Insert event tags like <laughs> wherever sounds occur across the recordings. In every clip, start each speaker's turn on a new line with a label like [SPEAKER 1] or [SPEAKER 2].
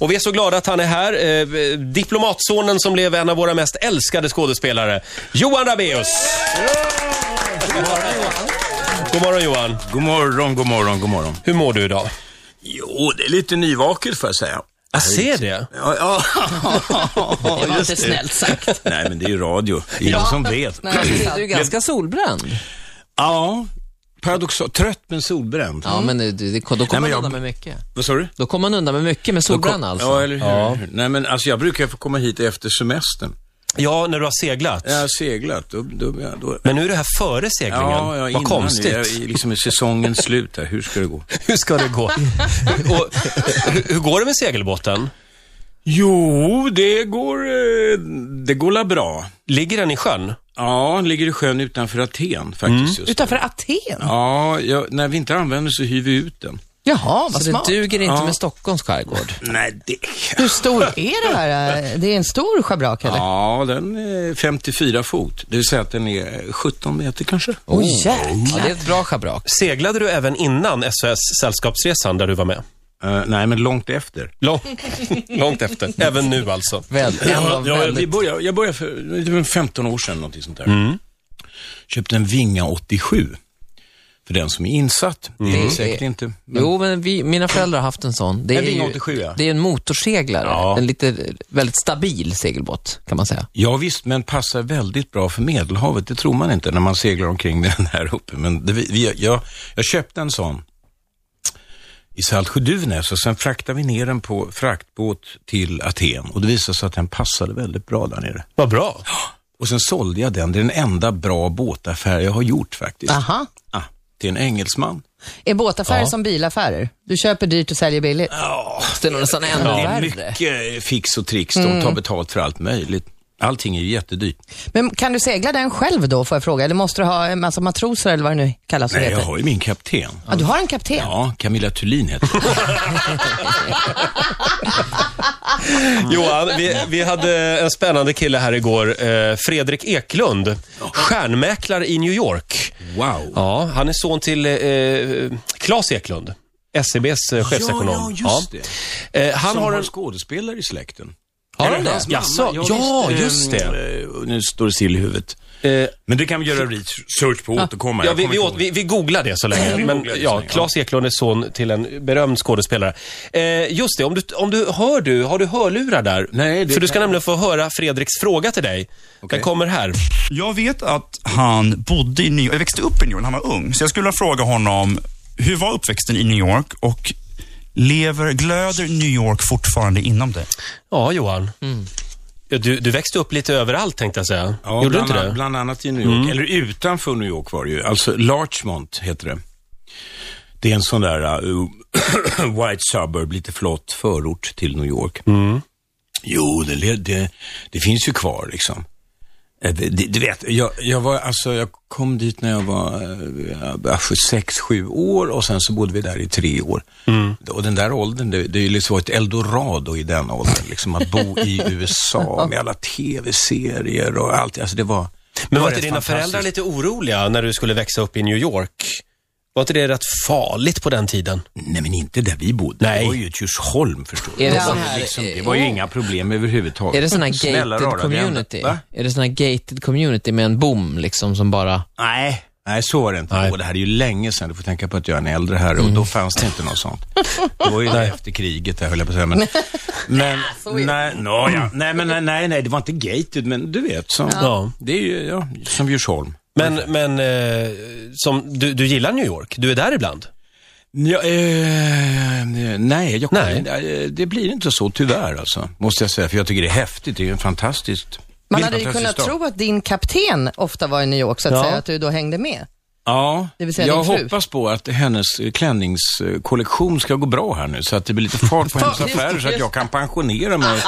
[SPEAKER 1] Och vi är så glada att han är här. Eh, diplomatsonen som blev en av våra mest älskade skådespelare. Johan Rabaeus! God morgon Johan.
[SPEAKER 2] God morgon, god morgon, god morgon.
[SPEAKER 1] Hur mår du idag?
[SPEAKER 2] Jo, det är lite nyvaket får jag säga.
[SPEAKER 1] Jag ser det.
[SPEAKER 2] Ja, ja.
[SPEAKER 3] Det var
[SPEAKER 2] Just
[SPEAKER 3] inte snällt sagt.
[SPEAKER 2] Nej, men det är ju radio. Det är ingen som vet.
[SPEAKER 3] Nej,
[SPEAKER 4] Du är ganska solbränd.
[SPEAKER 2] Ja, paradoxalt. Trött men solbränd.
[SPEAKER 4] Ja, men det, det, då kommer
[SPEAKER 2] men
[SPEAKER 4] man
[SPEAKER 2] jag-
[SPEAKER 4] undan med mycket.
[SPEAKER 2] Vad sa du?
[SPEAKER 4] Då kommer man undan med mycket med solbränna
[SPEAKER 2] Ja,
[SPEAKER 4] alltså.
[SPEAKER 2] eller hur? Nej, men alltså jag brukar få komma hit efter semestern.
[SPEAKER 1] Ja, när du har seglat.
[SPEAKER 2] Jag har seglat. Då, då, ja, då...
[SPEAKER 1] Men nu är det här före seglingen.
[SPEAKER 2] Ja, ja, innan
[SPEAKER 1] Vad
[SPEAKER 2] nu.
[SPEAKER 1] konstigt.
[SPEAKER 2] Jag, är liksom i säsongens slut här. Hur ska det gå?
[SPEAKER 1] Hur ska det gå? Och, hur, hur går det med segelbåten?
[SPEAKER 2] Jo, det går, eh, det går la bra.
[SPEAKER 1] Ligger den i sjön?
[SPEAKER 2] Ja, ligger i sjön utanför Aten faktiskt just nu.
[SPEAKER 3] Utanför Aten?
[SPEAKER 2] Ja, ja, när vi inte använder så hyr vi ut den.
[SPEAKER 3] Jaha,
[SPEAKER 4] Så
[SPEAKER 3] vad
[SPEAKER 4] Alltså, det
[SPEAKER 3] smart.
[SPEAKER 4] duger inte med Stockholms skärgård.
[SPEAKER 2] Nej, det...
[SPEAKER 3] Hur stor är det här? Det är en stor schabrak eller?
[SPEAKER 2] Ja, den är 54 fot. Det vill säga att den är 17 meter kanske.
[SPEAKER 3] Åh
[SPEAKER 4] Ja,
[SPEAKER 3] jäklar.
[SPEAKER 4] det är ett bra schabrak.
[SPEAKER 1] Seglade du även innan SOS Sällskapsresan där du var med?
[SPEAKER 2] Eh, nej, men långt efter.
[SPEAKER 1] Lång, <laughs> långt efter. Även nu alltså.
[SPEAKER 4] Väl, en av
[SPEAKER 2] vi
[SPEAKER 4] väldigt...
[SPEAKER 2] började, jag började för det var 15 år sedan, någonting sånt där. Köpte en Vinga 87. För den som är insatt. Det är
[SPEAKER 4] Mm.
[SPEAKER 2] säkert inte. Men,
[SPEAKER 4] Jo, men vi, mina föräldrar har haft en sån. Det
[SPEAKER 2] En
[SPEAKER 4] är,
[SPEAKER 2] Ving
[SPEAKER 4] ju,
[SPEAKER 2] 87, ja.
[SPEAKER 4] det är en motorseglare.
[SPEAKER 2] Ja.
[SPEAKER 4] En lite, väldigt stabil segelbåt, kan man säga.
[SPEAKER 2] ja, visst, men passar väldigt bra för Medelhavet. Det tror man inte när man seglar omkring med <laughs> den här uppe. Men det, vi, vi, jag, jag köpte en sån i Saltsjö-Duvnäs och sen fraktade vi ner den på fraktbåt till Aten. Och det visade sig att den passade väldigt bra där nere.
[SPEAKER 1] Vad bra.
[SPEAKER 2] Och sen sålde jag den. Det är den enda bra båtaffär jag har gjort faktiskt.
[SPEAKER 3] Aha.
[SPEAKER 2] Ah, till en engelsman.
[SPEAKER 3] Är båtaffärer som bilaffärer? Du köper dyrt och säljer billigt?
[SPEAKER 2] Ja,
[SPEAKER 4] Det är nog nästan ännu
[SPEAKER 2] det är
[SPEAKER 4] värre.
[SPEAKER 2] mycket fix och trix. De tar betalt för allt möjligt. Allting är ju jättedyrt.
[SPEAKER 3] Men kan du segla den själv då, får jag fråga? Eller måste du ha en massa matroser eller vad det nu kallas? och
[SPEAKER 2] Nej, jag
[SPEAKER 3] heter?
[SPEAKER 2] har ju min kapten.
[SPEAKER 3] Ja, du har en kapten?
[SPEAKER 2] Ja, Camilla Thulin heter hon. Mm.
[SPEAKER 1] Johan, vi, vi hade en spännande kille här igår. Eh, Fredrik Eklund, stjärnmäklare i New York.
[SPEAKER 2] Wow.
[SPEAKER 1] Ja, han är son till eh, Claes Eklund, SEBs eh,
[SPEAKER 2] Ja,
[SPEAKER 1] chefsekonom.
[SPEAKER 2] ja, just
[SPEAKER 1] det. Eh, han
[SPEAKER 2] Som
[SPEAKER 1] har en...
[SPEAKER 2] skådespelare i släkten.
[SPEAKER 1] Har
[SPEAKER 2] Eller
[SPEAKER 1] han det?
[SPEAKER 2] hans mamma.
[SPEAKER 1] Jaså, ja,
[SPEAKER 2] eh,
[SPEAKER 1] just det.
[SPEAKER 2] eh, Nu står det still i huvudet.
[SPEAKER 1] Eh,
[SPEAKER 2] Men det kan vi göra research på och återkomma.
[SPEAKER 1] Ja,
[SPEAKER 2] Jag
[SPEAKER 1] vi,
[SPEAKER 2] kommer
[SPEAKER 1] vi,
[SPEAKER 2] inte
[SPEAKER 1] åt,
[SPEAKER 2] ihåg.
[SPEAKER 1] vi, vi googlar det så länge. Men
[SPEAKER 2] googlar det så
[SPEAKER 1] ja,
[SPEAKER 2] länge, ja.
[SPEAKER 1] Claes Eklund är son till en berömd skådespelare. Eh, just det, om du, om du hör du, har du hörlurar där?
[SPEAKER 2] Nej, det
[SPEAKER 1] För du ska
[SPEAKER 2] kan-
[SPEAKER 1] nämligen få höra Fredriks fråga till dig. Den kommer här.
[SPEAKER 5] Jag vet att han bodde i New York, växte upp i New York när han var ung. Så jag skulle vilja fråga honom, hur var uppväxten i New York och lever, glöder New York fortfarande inom dig?
[SPEAKER 1] Ja, Johan. Du, du växte upp lite överallt tänkte jag säga.
[SPEAKER 2] Ja,
[SPEAKER 1] Gjorde du
[SPEAKER 2] bland,
[SPEAKER 1] inte
[SPEAKER 2] an-
[SPEAKER 1] det? Mm.
[SPEAKER 2] bland annat i New York, eller utanför New York var det ju. Alltså Larchmont heter det. Det är en sån där uh, <clears throat> white suburb, lite flott förort till New York. Jo, det, le- det, det finns ju kvar liksom. Eh, det- det- Du vet, jag, jag, var, alltså, jag kom dit när jag var eh, 6-7 år och sen så bodde vi där i tre år.
[SPEAKER 1] Mm.
[SPEAKER 2] Och den där åldern, det, det är ju liksom ett eldorado i den åldern. Liksom att
[SPEAKER 1] <laughs>
[SPEAKER 2] bo i USA med alla tv-serier och allt. Alltså det var...
[SPEAKER 1] Men var
[SPEAKER 2] det
[SPEAKER 1] inte dina
[SPEAKER 2] fantastiskt.
[SPEAKER 1] föräldrar lite oroliga när du skulle växa upp i New York? Var inte det rätt farligt på den tiden?
[SPEAKER 2] Nej, men inte där vi bodde.
[SPEAKER 1] Nej.
[SPEAKER 2] Det var ju i Djursholm, förstår du.
[SPEAKER 4] Är det
[SPEAKER 2] var
[SPEAKER 4] så
[SPEAKER 2] ju
[SPEAKER 4] här-
[SPEAKER 2] liksom, det var ju
[SPEAKER 4] eh,
[SPEAKER 2] inga problem överhuvudtaget.
[SPEAKER 4] Är det sån här
[SPEAKER 2] Snälla
[SPEAKER 4] gated
[SPEAKER 2] rara vänner.
[SPEAKER 4] community?
[SPEAKER 2] Va?
[SPEAKER 4] Är det sån här gated community med en bom liksom som bara...
[SPEAKER 2] Nej. Nej, Mm. så var det inte.
[SPEAKER 1] Nej.
[SPEAKER 2] Och det här är ju länge sedan. Du får tänka på att jag är en äldre herre och då fanns det inte något sånt. Det var ju där efter kriget, där höll jag på att säga. Men, <laughs> men nej, nå, ja. nej, men nej, nej, nej, det var inte gated, men du vet. Som,
[SPEAKER 1] Ja.
[SPEAKER 2] Det är ju, ja, som Djursholm.
[SPEAKER 1] Men, men eh, som, du, du gillar New York? Du är där ibland?
[SPEAKER 2] Ja, eh, nej, jag,
[SPEAKER 1] Nej.
[SPEAKER 2] eh, det blir inte så tyvärr alltså, måste jag säga. För jag tycker det är häftigt, det är ju en fantastiskt
[SPEAKER 3] Man
[SPEAKER 2] det är en
[SPEAKER 3] hade ju
[SPEAKER 2] fantastisk
[SPEAKER 3] kunnat
[SPEAKER 2] stad.
[SPEAKER 3] tro att din kapten ofta var i New York, så att
[SPEAKER 1] Ja.
[SPEAKER 3] säga, att du då hängde med.
[SPEAKER 2] Ja,
[SPEAKER 3] Det vill säga
[SPEAKER 2] jag
[SPEAKER 3] din fru.
[SPEAKER 2] hoppas på att hennes eh, klänningskollektion ska gå bra här nu så att det blir lite fart
[SPEAKER 3] <laughs>
[SPEAKER 2] på hennes affärer så att jag kan pensionera mig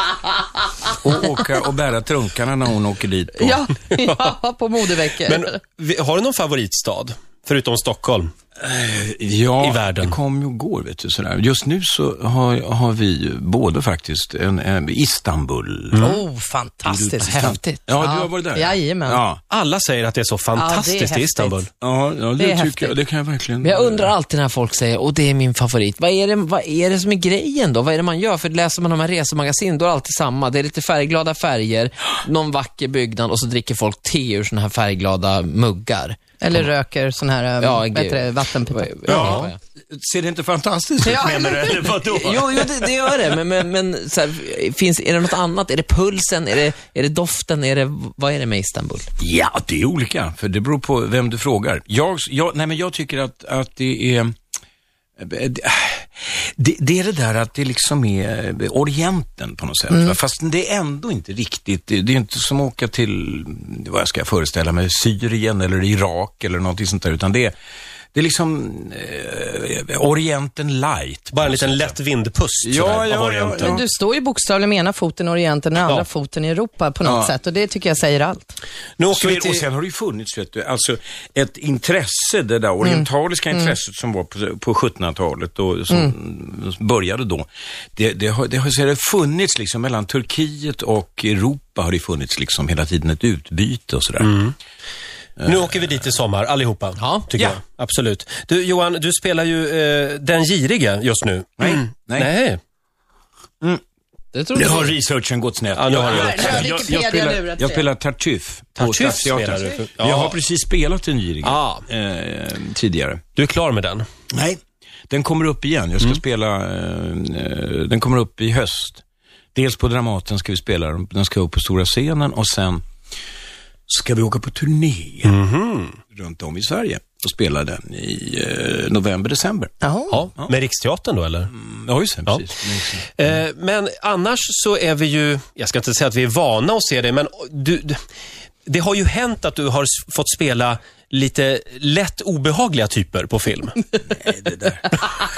[SPEAKER 2] och åka och bära trunkarna när hon åker dit. På.
[SPEAKER 3] Ja, <laughs> ja på modeveckor.
[SPEAKER 1] Men vi- har du någon favoritstad? Förutom Stockholm?
[SPEAKER 2] Ja,
[SPEAKER 1] i världen?
[SPEAKER 2] det kom ju igår, vet du. Sådär. Just nu så har, har vi båda faktiskt en, en Istanbul.
[SPEAKER 3] Oh, fantastiskt. Häftigt.
[SPEAKER 2] Ja, du har varit där?
[SPEAKER 3] Jajamän.
[SPEAKER 2] Ja,
[SPEAKER 1] Alla säger att det är så fantastiskt i
[SPEAKER 2] <laughs>
[SPEAKER 3] häftigt.
[SPEAKER 1] Istanbul.
[SPEAKER 2] ja, ja det,
[SPEAKER 3] Det är häftigt.
[SPEAKER 2] tycker jag. Det kan jag verkligen...
[SPEAKER 4] Men jag undrar alltid när folk säger, och det är min favorit. Vad är, det, vad är det som är grejen då? Vad är det man gör? För läser man de här resemagasinerna, då är det alltid samma. Det är lite färgglada färger, någon vacker byggnad och så dricker folk te ur såna här färgglada muggar.
[SPEAKER 3] Eller röker sån här um,
[SPEAKER 4] Ja,
[SPEAKER 3] ja,
[SPEAKER 4] gud.
[SPEAKER 3] bättre vattenpipa.
[SPEAKER 2] Ja. Ser det inte fantastiskt ut,
[SPEAKER 3] Ja.
[SPEAKER 2] menar du? Eller eh, vadå?
[SPEAKER 4] Jo, jo det, det gör det, men, men, men så här, finns, är det något annat? Är det pulsen? Är det, är det doften? Är det, vad är det med Istanbul?
[SPEAKER 2] Ja, det är olika, för det beror på vem du frågar. Jag, jag, nej, men jag tycker att, att det är... eh, Det, det är det där att det liksom är Orienten på något sätt.
[SPEAKER 1] Mm.
[SPEAKER 2] va? Fast det är ändå inte riktigt, det, det är inte som att åka till, vad jag ska föreställa mig, Syrien eller Irak eller någonting sånt där, utan det är, det är liksom eh, Orienten light.
[SPEAKER 1] Bara en liten lätt vindpust
[SPEAKER 2] Ja,
[SPEAKER 1] sådär,
[SPEAKER 2] ja,
[SPEAKER 1] av
[SPEAKER 2] ja,
[SPEAKER 1] Orienten.
[SPEAKER 2] ja.
[SPEAKER 3] Men du står ju bokstavligen med ena foten i Orienten och den andra
[SPEAKER 1] Ja.
[SPEAKER 3] foten i Europa på något sätt och det tycker jag säger allt.
[SPEAKER 1] Nu
[SPEAKER 2] Så
[SPEAKER 1] åker
[SPEAKER 2] är,
[SPEAKER 1] vi
[SPEAKER 2] det- och
[SPEAKER 1] till...
[SPEAKER 2] sen har det ju funnits vet du, alltså ett intresse, det där orientaliska intresset som var på, på 1700-talet och som började då. Det, det, har, det, har, så har det funnits liksom mellan Turkiet och Europa har det funnits liksom hela tiden ett utbyte och sådär.
[SPEAKER 1] Mm. Nu åker vi dit i sommar, allihopa.
[SPEAKER 4] Ja.
[SPEAKER 1] tycker
[SPEAKER 2] Ja.
[SPEAKER 1] jag. Absolut. Du, Johan, du spelar ju eh, Den girige just nu. Mm.
[SPEAKER 2] Nej, nej.
[SPEAKER 1] Nej.
[SPEAKER 4] Det tror
[SPEAKER 2] Nu
[SPEAKER 4] jag.
[SPEAKER 2] har researchen gått snett.
[SPEAKER 1] Ja, nu har
[SPEAKER 2] jag,
[SPEAKER 1] det
[SPEAKER 2] jag,
[SPEAKER 1] gått snett.
[SPEAKER 2] jag, jag,
[SPEAKER 3] Wikipedia
[SPEAKER 2] spelar,
[SPEAKER 3] lurat
[SPEAKER 2] jag
[SPEAKER 3] sig.
[SPEAKER 2] spelar Tartuffe på
[SPEAKER 1] Tartuffe
[SPEAKER 2] Stadsteatern.
[SPEAKER 1] spelar du.
[SPEAKER 2] Jag har
[SPEAKER 1] Ja.
[SPEAKER 2] precis spelat en girig
[SPEAKER 1] Ah.
[SPEAKER 2] eh, tidigare.
[SPEAKER 1] Du är klar med den.
[SPEAKER 2] Nej. Den kommer upp igen. Jag ska
[SPEAKER 1] Mm.
[SPEAKER 2] spela, eh, eh, den kommer upp i höst. Dels på Dramaten ska vi spela den, den ska upp på stora scenen och sen ska vi åka på turné
[SPEAKER 1] Mhm.
[SPEAKER 2] runt om i Sverige och spela den i eh, november, december.
[SPEAKER 3] Jaha.
[SPEAKER 1] Ja. Med Riksteatern då, eller?
[SPEAKER 2] Ja, just det.
[SPEAKER 1] Ja.
[SPEAKER 2] Precis.
[SPEAKER 1] Eh, men annars så är vi ju, jag ska inte säga att vi är vana att se det, men du, d- det har ju hänt att du har s- fått spela lite lätt obehagliga typer på
[SPEAKER 2] <laughs>
[SPEAKER 1] film.
[SPEAKER 2] Det, där.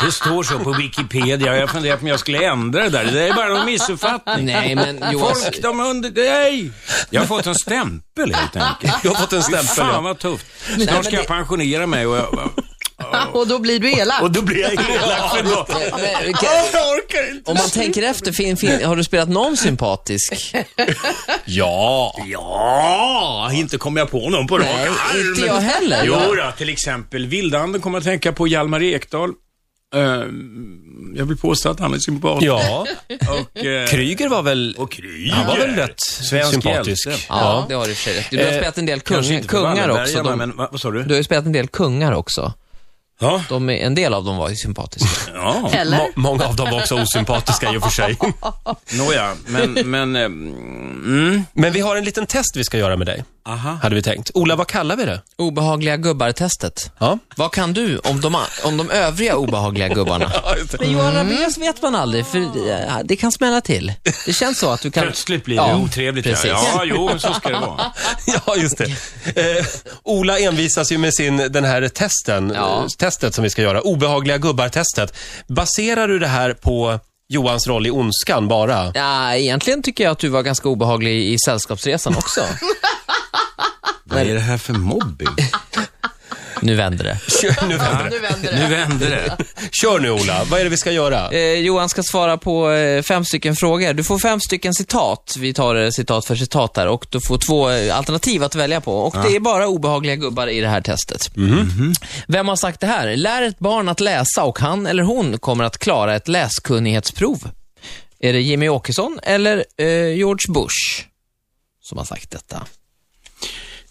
[SPEAKER 2] det står så på Wikipedia. Jag funderar på om jag skulle ändra det där. Det där är bara en missuppfattning.
[SPEAKER 4] Nej, men Johan,
[SPEAKER 2] Folk, de under... Nej! Jag har fått en stämpel helt enkelt.
[SPEAKER 1] Du har fått en stämpel. ja.
[SPEAKER 2] Fan vad tufft. Snart ska jag pensionera mig och jag...
[SPEAKER 3] Och då blir du elak.
[SPEAKER 2] <laughs> då blir jag elak för då.
[SPEAKER 4] men, eh,
[SPEAKER 2] Jag orkar inte.
[SPEAKER 4] om man tänker efter, fin, fin, har du spelat någon sympatisk?
[SPEAKER 1] Ja.
[SPEAKER 2] Ja, inte kom jag på någon på rak
[SPEAKER 4] Nej,
[SPEAKER 2] arm.
[SPEAKER 4] inte jag heller.
[SPEAKER 2] Jo då, till exempel Vildanden kommer jag att tänka på Hjalmar Ekdal. Eh, jag vill påstå att han är sympatisk.
[SPEAKER 1] Ja.
[SPEAKER 2] Och, eh,
[SPEAKER 1] Kryger var väl...
[SPEAKER 2] och Kryger.
[SPEAKER 1] Han var väl rätt
[SPEAKER 2] Svensk
[SPEAKER 1] sympatisk.
[SPEAKER 2] hjälte.
[SPEAKER 4] Ja, det har du i och för sig rätt. Du har
[SPEAKER 1] Eh,
[SPEAKER 4] spelat en del
[SPEAKER 2] Kanske
[SPEAKER 4] kung,
[SPEAKER 2] inte för
[SPEAKER 4] kungar
[SPEAKER 2] Wallenberg,
[SPEAKER 4] också. De,
[SPEAKER 2] men, vad, vad sa du?
[SPEAKER 4] du har ju spelat en del kungar också.
[SPEAKER 2] Ja.
[SPEAKER 4] De, är- en del av dem var ju sympatiska.
[SPEAKER 2] ja.
[SPEAKER 3] Eller?
[SPEAKER 1] Må- många av dem var också osympatiska i och för
[SPEAKER 2] <laughs>
[SPEAKER 1] sig.
[SPEAKER 2] Nåja,
[SPEAKER 4] <laughs>
[SPEAKER 2] men... men eh, mm.
[SPEAKER 1] Men vi har en liten test vi ska göra med dig,
[SPEAKER 2] Aha.
[SPEAKER 1] hade vi tänkt. Ola, vad kallar vi det?
[SPEAKER 4] Obehagliga gubbar-testet.
[SPEAKER 1] Ja.
[SPEAKER 4] Vad kan du om de, a- om de övriga
[SPEAKER 2] <laughs>
[SPEAKER 4] obehagliga gubbarna? Men
[SPEAKER 2] Mm.
[SPEAKER 4] Johan Rabaeus vet man aldrig, för eh, det kan smälla till. Det känns så att du kan...
[SPEAKER 2] Plötsligt blir det otrevligt.
[SPEAKER 4] Precis.
[SPEAKER 2] Ja, ja jo, men så ska det vara.
[SPEAKER 4] <laughs>
[SPEAKER 1] <laughs> Ja, just det. Eh, Ola envisas ju med sin, den här testen,
[SPEAKER 4] Ja.
[SPEAKER 1] eh, testet som vi ska göra. Obehagliga gubbar-testet. Baserar du det här på Johans roll i Ondskan bara?
[SPEAKER 4] Ja, egentligen tycker jag att du var ganska obehaglig i
[SPEAKER 2] <laughs>
[SPEAKER 4] Sällskapsresan också.
[SPEAKER 2] Vad är det här för mobbing?
[SPEAKER 4] nu vänder det.
[SPEAKER 1] Kör nu, <laughs> vänder det.
[SPEAKER 3] Nu vänder det.
[SPEAKER 2] Nu vänder det.
[SPEAKER 1] Kör nu Ola, vad är det vi ska göra?
[SPEAKER 4] Eh, Johan ska svara på eh, fem stycken frågor. Du får fem stycken citat. Vi tar eh, citat för citat där och du får två eh, alternativ att välja på. Och det är bara obehagliga gubbar i det här testet. Mhm. Vem har sagt det här? Lär ett barn att läsa och han eller hon kommer att klara ett läskunnighetsprov. Är det Jimmy Åkesson eller eh, George Bush som har sagt detta?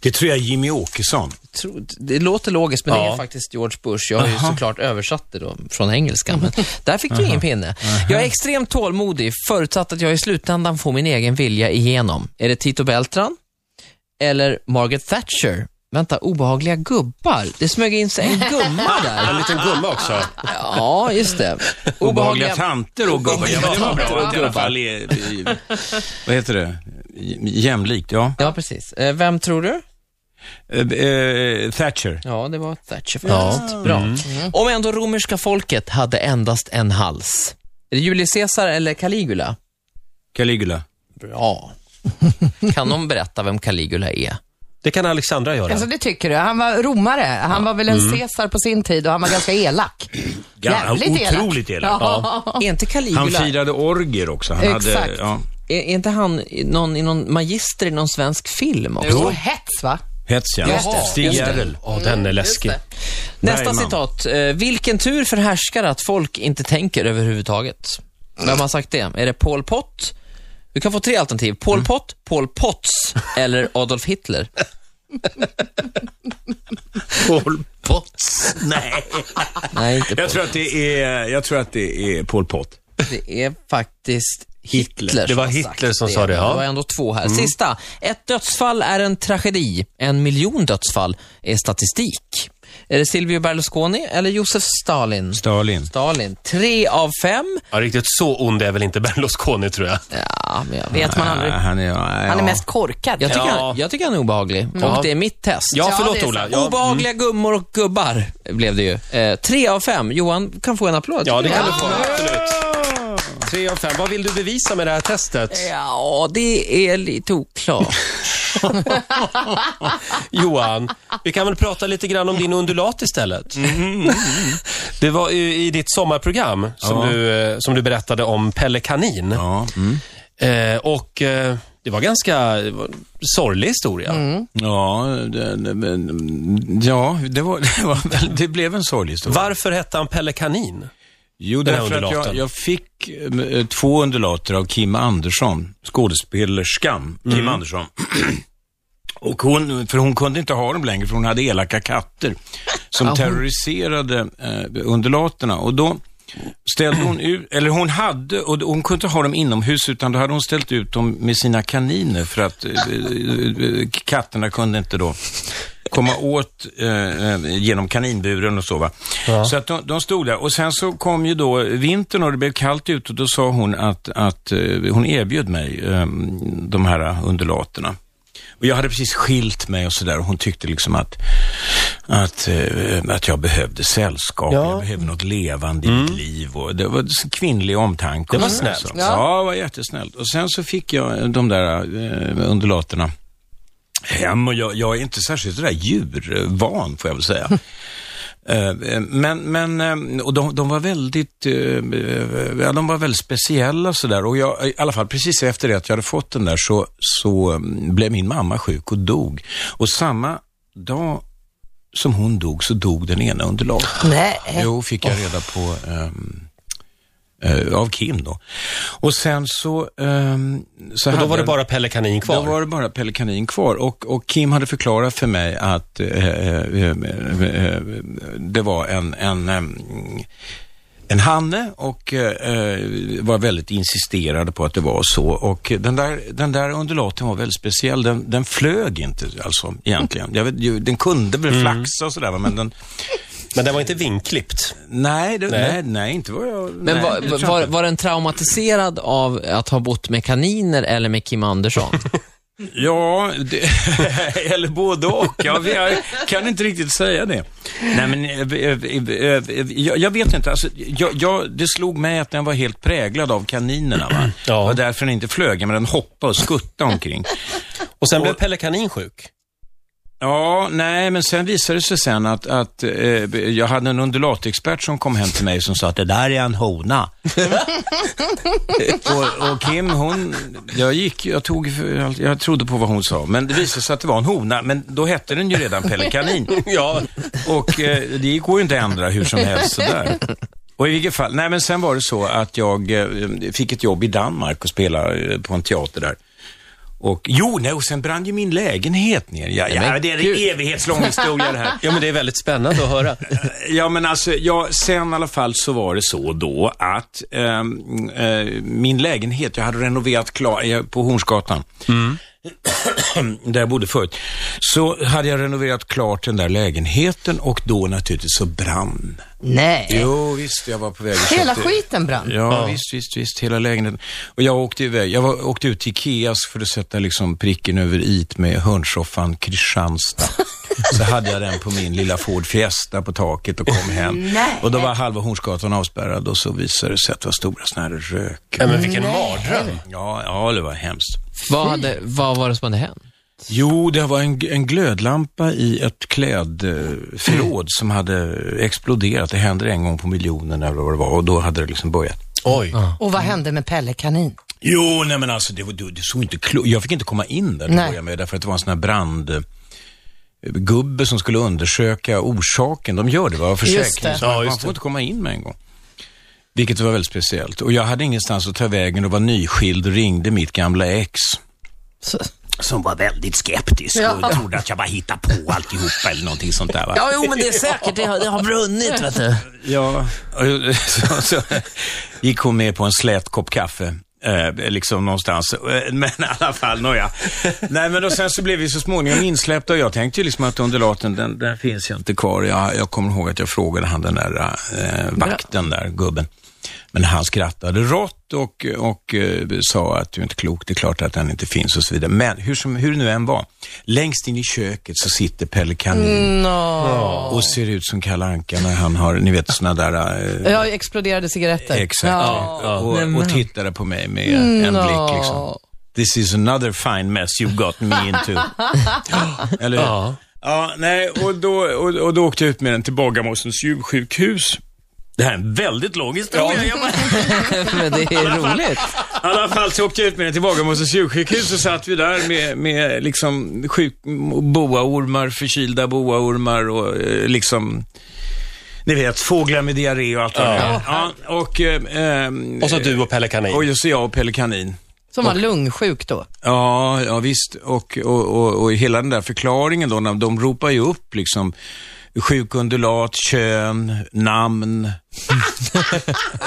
[SPEAKER 2] Det tror jag är Jimmy Åkesson.
[SPEAKER 4] Tro- Det låter logiskt, men det
[SPEAKER 1] Ja.
[SPEAKER 4] är faktiskt George Bush. Jag har ju såklart översatt det då från engelska, men där fick du ingen pinne. Jag är extremt tålmodig, förutsatt att jag i slutändan får min egen vilja igenom. Är det Tito Beltran? Eller Margaret Thatcher? Vänta, obehagliga gubbar? Det smög in sig en gumma
[SPEAKER 1] En
[SPEAKER 4] där.
[SPEAKER 1] liten gumma också.
[SPEAKER 4] Ja, just det.
[SPEAKER 2] Obehagliga tanter och gubbar. Ja, men det var
[SPEAKER 4] Obehagliga
[SPEAKER 2] bra att i alla
[SPEAKER 4] gubbar.
[SPEAKER 2] fall är, i- vad heter det? J- Jämlikt, ja.
[SPEAKER 4] Ja, precis. Eh, Vem tror du?
[SPEAKER 2] Eh, eh, Thatcher.
[SPEAKER 4] Ja, det var Thatcher faktiskt. Bra. Om ändå romerska folket hade endast en hals. Är det Julius Caesar eller Caligula?
[SPEAKER 2] Caligula.
[SPEAKER 4] <laughs> Bra. Kan någon berätta vem Caligula är?
[SPEAKER 1] Det kan Alexandra göra.
[SPEAKER 3] Alltså det tycker du. Han var romare. Han var väl en
[SPEAKER 2] Mm.
[SPEAKER 3] Caesar på sin tid och han var ganska elak.
[SPEAKER 2] Ja, otroligt elak.
[SPEAKER 3] Ja.
[SPEAKER 4] Är inte
[SPEAKER 2] Han
[SPEAKER 4] Caligula,
[SPEAKER 2] firade orger också. Han
[SPEAKER 3] Exakt.
[SPEAKER 2] Hade, ja,
[SPEAKER 4] är, är inte han i någon, i någon magister i någon svensk film också?
[SPEAKER 3] Och hets va?
[SPEAKER 2] hets, ja.
[SPEAKER 4] Just det,
[SPEAKER 2] Stig
[SPEAKER 4] just det.
[SPEAKER 2] Järrel.
[SPEAKER 1] Ja, den är läskig.
[SPEAKER 4] Nästa
[SPEAKER 2] Bergman.
[SPEAKER 4] citat. Eh, vilken tur för härskare att folk inte tänker överhuvudtaget. Vem har sagt det? Är det Pol Pot? Du kan få tre alternativ. Pol
[SPEAKER 2] Mm.
[SPEAKER 4] Pot, Pol Potts eller
[SPEAKER 2] <laughs>
[SPEAKER 4] Adolf Hitler.
[SPEAKER 2] Pol Potts. <laughs> Nej.
[SPEAKER 4] Nej, inte Pol.
[SPEAKER 2] Jag tror att det är, jag tror att det är Pol Pot.
[SPEAKER 4] Det är faktiskt Hitler.
[SPEAKER 1] Det var
[SPEAKER 4] som har
[SPEAKER 1] Hitler
[SPEAKER 4] sagt
[SPEAKER 1] som sa det, ja. Mm.
[SPEAKER 4] Det var ändå två här. Sista. Ett dödsfall är en tragedi. En miljon dödsfall är statistik. Är det Silvio Berlusconi eller Josef Stalin?
[SPEAKER 2] Stalin.
[SPEAKER 4] Stalin. Tre av fem.
[SPEAKER 1] Ja, riktigt så ond är väl inte Berlusconi tror jag.
[SPEAKER 4] Ja, men jag vet man aldrig.
[SPEAKER 2] Han är, ja,
[SPEAKER 3] Han är mest korkad.
[SPEAKER 4] Jag tycker,
[SPEAKER 1] Ja.
[SPEAKER 4] han, jag tycker han är obehaglig. Och det är mitt test.
[SPEAKER 1] Ja,
[SPEAKER 3] Ja,
[SPEAKER 1] förlåt
[SPEAKER 3] det är
[SPEAKER 1] Ola.
[SPEAKER 3] sant.
[SPEAKER 1] Ja, mm.
[SPEAKER 4] Obehagliga gummor och gubbar blev det ju. Eh, tre av fem. Johan kan få en applåd.
[SPEAKER 1] ja, det kan
[SPEAKER 4] ja.
[SPEAKER 1] du få. Absolut. Tre av fem. Vad vill du bevisa med det här testet?
[SPEAKER 4] Ja, det är lite oklart.
[SPEAKER 1] Johan, vi kan väl prata lite grann om din undulat istället.
[SPEAKER 2] Mm,
[SPEAKER 1] <laughs> Det var ju i ditt sommarprogram som, du, eh, som du berättade om Pelle Kanin.
[SPEAKER 2] Ja, mm.
[SPEAKER 1] Eh, och eh, det var ganska det var en sorglig historia.
[SPEAKER 2] Mm. ja, det, det, men- ja det, var, <laughs> det, var, väl- det blev en sorglig historia.
[SPEAKER 1] Varför hette han Pelle Kanin?
[SPEAKER 2] Jo,
[SPEAKER 1] Den här
[SPEAKER 2] därför att jag,
[SPEAKER 1] undulaten.
[SPEAKER 2] jag fick eh, två undulater av Kim Andersson, skådespelerskan Kim Andersson. <clears throat> Och hon, för hon kunde inte ha dem längre, för hon hade elaka katter som terroriserade eh, undulaterna. Och då ställde hon ut, eller hon hade, och hon kunde inte ha dem inomhus, utan då hade hon ställt ut dem med sina kaniner för att eh, eh, katterna kunde inte då komma åt eh, eh, genom kaninburen och så. Va? Så att de, de stod där och sen så kom ju då vintern och det blev kallt ute och då sa hon att, att eh, hon erbjöd mig eh, de här eh, undulaterna. Och jag hade precis skilt mig och sådär och hon tyckte liksom att, att, eh, att jag behövde sällskap, jag behövde något levande i mitt liv. Och det var så kvinnlig omtanke. Mm. Det var snällt. Ja. ja, det var jättesnällt. Och sen så fick jag eh, de där eh, undulaterna hem och jag, jag är inte särskilt sådär djurvan får jag väl <laughs> säga. Eh, Men, men eh, och de, de var väldigt eh, eh, ja, de var väldigt speciella sådär. Och jag, i alla fall precis efter det att jag hade fått den där så, så eh, blev min mamma sjuk och dog. Och samma dag som hon dog så dog den ena undulaten.
[SPEAKER 1] Äh.
[SPEAKER 3] Nej.
[SPEAKER 2] Jo, fick jag reda på ehm, eh, av Kim då. Och sen så... ehm, så
[SPEAKER 1] Och då
[SPEAKER 2] hade
[SPEAKER 1] var det
[SPEAKER 2] jag-
[SPEAKER 1] bara Pelle Kanin kvar.
[SPEAKER 2] då var det bara Pelle Kanin kvar och, och Kim hade förklarat för mig att eh, eh, eh, eh, det var en, en, em, en hanne och eh, eh, var väldigt insisterade på att det var så. Och den där, den där undulaten var väldigt speciell. Den, den flög inte alltså egentligen. Jag vet, ju, den kunde väl
[SPEAKER 1] Mm.
[SPEAKER 2] flaxa och sådär va, men den,
[SPEAKER 1] Men den var inte vinklippt. nej, det,
[SPEAKER 2] nej. nej, inte vad jag...
[SPEAKER 4] Men
[SPEAKER 2] nej, det tror
[SPEAKER 4] var,
[SPEAKER 2] jag
[SPEAKER 4] var,
[SPEAKER 2] inte.
[SPEAKER 4] var den traumatiserad av att ha bott med kaniner eller med
[SPEAKER 2] <laughs>
[SPEAKER 4] Kim Andersson?
[SPEAKER 2] Ja, det, <laughs> eller både och. Jag, jag kan inte riktigt säga det. Nej, men eh, eh, eh, jag, jag vet inte. Alltså, jag, jag, det slog mig att den var helt präglad av kaninerna. Va?
[SPEAKER 1] Ja.
[SPEAKER 2] Det var därför den inte flög, men den hoppade och skuttade omkring.
[SPEAKER 1] Och sen blev Pelle Kanin
[SPEAKER 2] <laughs>
[SPEAKER 1] sjuk.
[SPEAKER 2] Ja, nej, men sen visade det sig sen att, att eh, jag hade en undulatexpert som kom hem till mig som sa att det där är en hona. och, och Kim, hon, jag gick, jag tog, för allt- jag trodde på vad hon sa, men det visade sig att det var en hona, men då hette den ju redan Pelle Kanin.
[SPEAKER 1] Ja,
[SPEAKER 2] Och eh, det går ju inte att ändra hur som helst sådär. Och i vilket fall, nej men sen var det så att jag eh, fick ett jobb i Danmark och spelade eh, på en teater där. Och jo, nej, och sen brann ju min lägenhet ner. Ja, ja, det är en evighetslång historia det här.
[SPEAKER 1] ja men det är väldigt spännande att höra.
[SPEAKER 2] Ja, men alltså, ja, sen i alla fall så var det så då att ehm, eh, min lägenhet, jag hade renoverat klar, eh, på Hornsgatan, Mm. <clears throat> där jag bodde förut, så hade jag renoverat klart den där lägenheten och då naturligtvis så brann.
[SPEAKER 3] Nej.
[SPEAKER 2] Jo, visst, jag var på väg och
[SPEAKER 3] Hela
[SPEAKER 2] köpte-
[SPEAKER 3] skiten brann.
[SPEAKER 2] Ja, visst, visst, visst, hela lägenheten. Och jag åkte iväg, jag var, åkte ut till Ikeas för att sätta liksom pricken över it med hörnsoffan Kristianstad. Så hade jag den på min lilla Ford Fiesta på taket och kom hem. Och då var halva Hornsgatan avspärrad och så visade det sig att det var stora sådana här rök.
[SPEAKER 1] Nej, men vilken mardröm.
[SPEAKER 2] Ja, ja, det var hemskt.
[SPEAKER 4] vad, hade, vad var det som hade hänt? annat?
[SPEAKER 2] Jo, det var en, en glödlampa i ett klädförråd som hade exploderat. Det händer en gång på miljonen eller vad det var och då hade det liksom börjat.
[SPEAKER 1] Oj.
[SPEAKER 3] Och vad hände med Pelle Kanin?
[SPEAKER 2] Jo, nej men alltså det, var, det, det såg inte klokt Jag fick inte komma in där till
[SPEAKER 3] Nej.
[SPEAKER 2] att börja med därför att det var en sån här brand eh, gubbe som skulle undersöka orsaken. De gör det, va?
[SPEAKER 3] Just det.
[SPEAKER 2] Försäkringen. Så
[SPEAKER 1] Ja,
[SPEAKER 2] man
[SPEAKER 1] just
[SPEAKER 2] får inte komma in med en gång. Vilket var väldigt speciellt. Och jag hade ingenstans att ta vägen och var nyskild och ringde mitt gamla ex.
[SPEAKER 3] Så,
[SPEAKER 2] Som var väldigt skeptisk och
[SPEAKER 3] Ja.
[SPEAKER 2] trodde att jag bara hittade på alltihopa eller någonting sånt där. Va?
[SPEAKER 4] Ja, jo, men det är säkert. Det har, det har brunnit, vet du.
[SPEAKER 2] Ja, och så, så <laughs> gick hon med på en slät kopp kaffe. Eh, liksom någonstans. Eh, Men i alla fall, nåja. Nej, men och sen så blev vi så småningom insläppta och jag tänkte ju liksom att undulaten, den, den finns ju inte kvar. Jag, jag kommer ihåg att jag frågade han den där eh, vakten där, gubben. Men han skrattade rått och, och eh, sa att du är inte klok, det är klart att den inte finns och så vidare. Men hur, som, hur det nu än var, längst in i köket så sitter Pelle Kanin och ser ut som Kalle Anka när han har, ni vet såna där... Eh,
[SPEAKER 3] jag exploderade cigaretter.
[SPEAKER 2] Exakt.
[SPEAKER 3] Ja.
[SPEAKER 2] Och, och tittade på mig med en blick liksom. This is another fine mess you've got me into. Eller hur?
[SPEAKER 1] Ja.
[SPEAKER 2] Ja, nej, och då, och, och då åkte jag ut med den till Bagarmossens djursjukhus. Det här är en väldigt lång historia. Jag bara-
[SPEAKER 4] <laughs> Men det är roligt.
[SPEAKER 2] i alla fall så åkte jag ut med den till Bagarmossens djursjukhus så satt vi där med, med liksom sjuk, boaormar, förkylda boaormar och eh, liksom, ni vet, fåglar med diarré och allt vad det är. ja. och, eh, ehm,
[SPEAKER 1] Och så du och Pelle Kanin.
[SPEAKER 2] och just jag och Pelle Kanin.
[SPEAKER 3] Som var lungsjuk då.
[SPEAKER 2] Ja, ja visst. Och, och, och, och hela den där förklaringen då, när de ropar ju upp liksom sjuk undulat, kön, namn.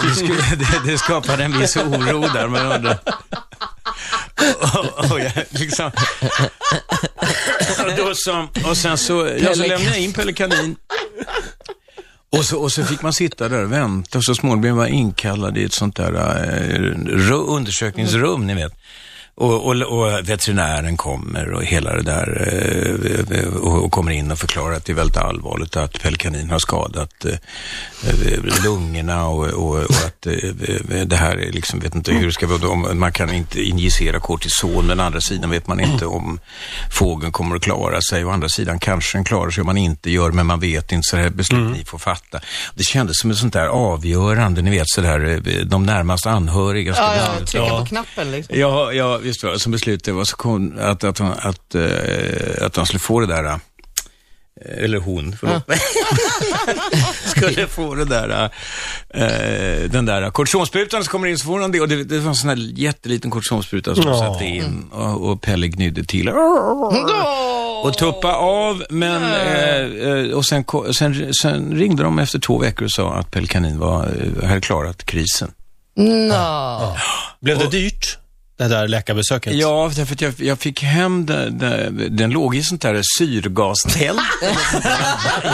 [SPEAKER 2] det, skulle, <laughs> det, det skapade en viss oro där, man undrar. Och, och, jag, liksom. och, då så, och sen så, ja, så
[SPEAKER 4] Pelle-
[SPEAKER 2] lämnade jag in Pelle Kanin. Och så, och så fick man sitta där och vänta och så småningom blev man inkallad i ett sånt där eh, ru- undersökningsrum, ni vet. Och, och, och veterinären kommer och hela det där eh, och, och kommer in och förklarar att det är väldigt allvarligt att pelkanin har skadat eh, eh, lungorna och, och, och att eh, det här är liksom, vet inte hur det ska vara, om, man kan inte injicera kortison, men å andra sidan vet man inte om fågeln kommer att klara sig, å andra sidan kanske den klarar sig om man inte gör, men man vet inte, så det här beslut ni får fatta. Det kändes som ett sånt där avgörande, ni vet sådär, eh, de närmast anhöriga ska
[SPEAKER 3] Ja,
[SPEAKER 2] besluta.
[SPEAKER 3] ja, trycka på knappen liksom.
[SPEAKER 2] Ja, ja visst var det. Som beslut, det var så kon, att, att, hon, att, eh, att han skulle få det där, eh, eller hon, förlåt mig, <laughs> skulle få det där, eh, den där kortisonsprutan som kommer in så får han det. Och det, det var en sån här jätteliten kortisonspruta som
[SPEAKER 1] Ja.
[SPEAKER 2] satte in och, och Pelle gnydde till.
[SPEAKER 3] Åh!
[SPEAKER 2] Och tuppa av, men eh, eh, och sen, ko- sen, sen ringde de efter två veckor och sa att Pelle Kanin var, eh, hade klarat krisen.
[SPEAKER 3] Nå.
[SPEAKER 1] Blev det dyrt, det där läkarbesöket?
[SPEAKER 2] Ja, därför att jag, jag fick hem den, den, den låg i sånt där syrgastält. <laughs>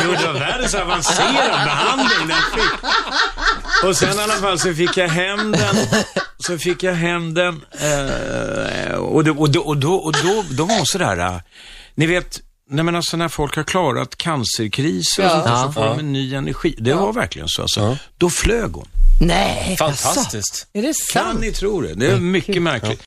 [SPEAKER 2] jo, det var världens avancerad behandling den fick. Och sen i alla fall så fick jag hem den. Så fick jag hem den. Eh, och, då, och, då, och, då, och då, då var hon sådär, eh, ni vet, Nej men alltså när folk har klarat cancerkriser och sånt där, så får de en ny energi. Det var verkligen så alltså. Då flög hon.
[SPEAKER 3] Nej, alltså.
[SPEAKER 1] Fantastiskt.
[SPEAKER 3] är det
[SPEAKER 2] Kan
[SPEAKER 3] sant?
[SPEAKER 2] ni tro det? Det är mycket märkligt.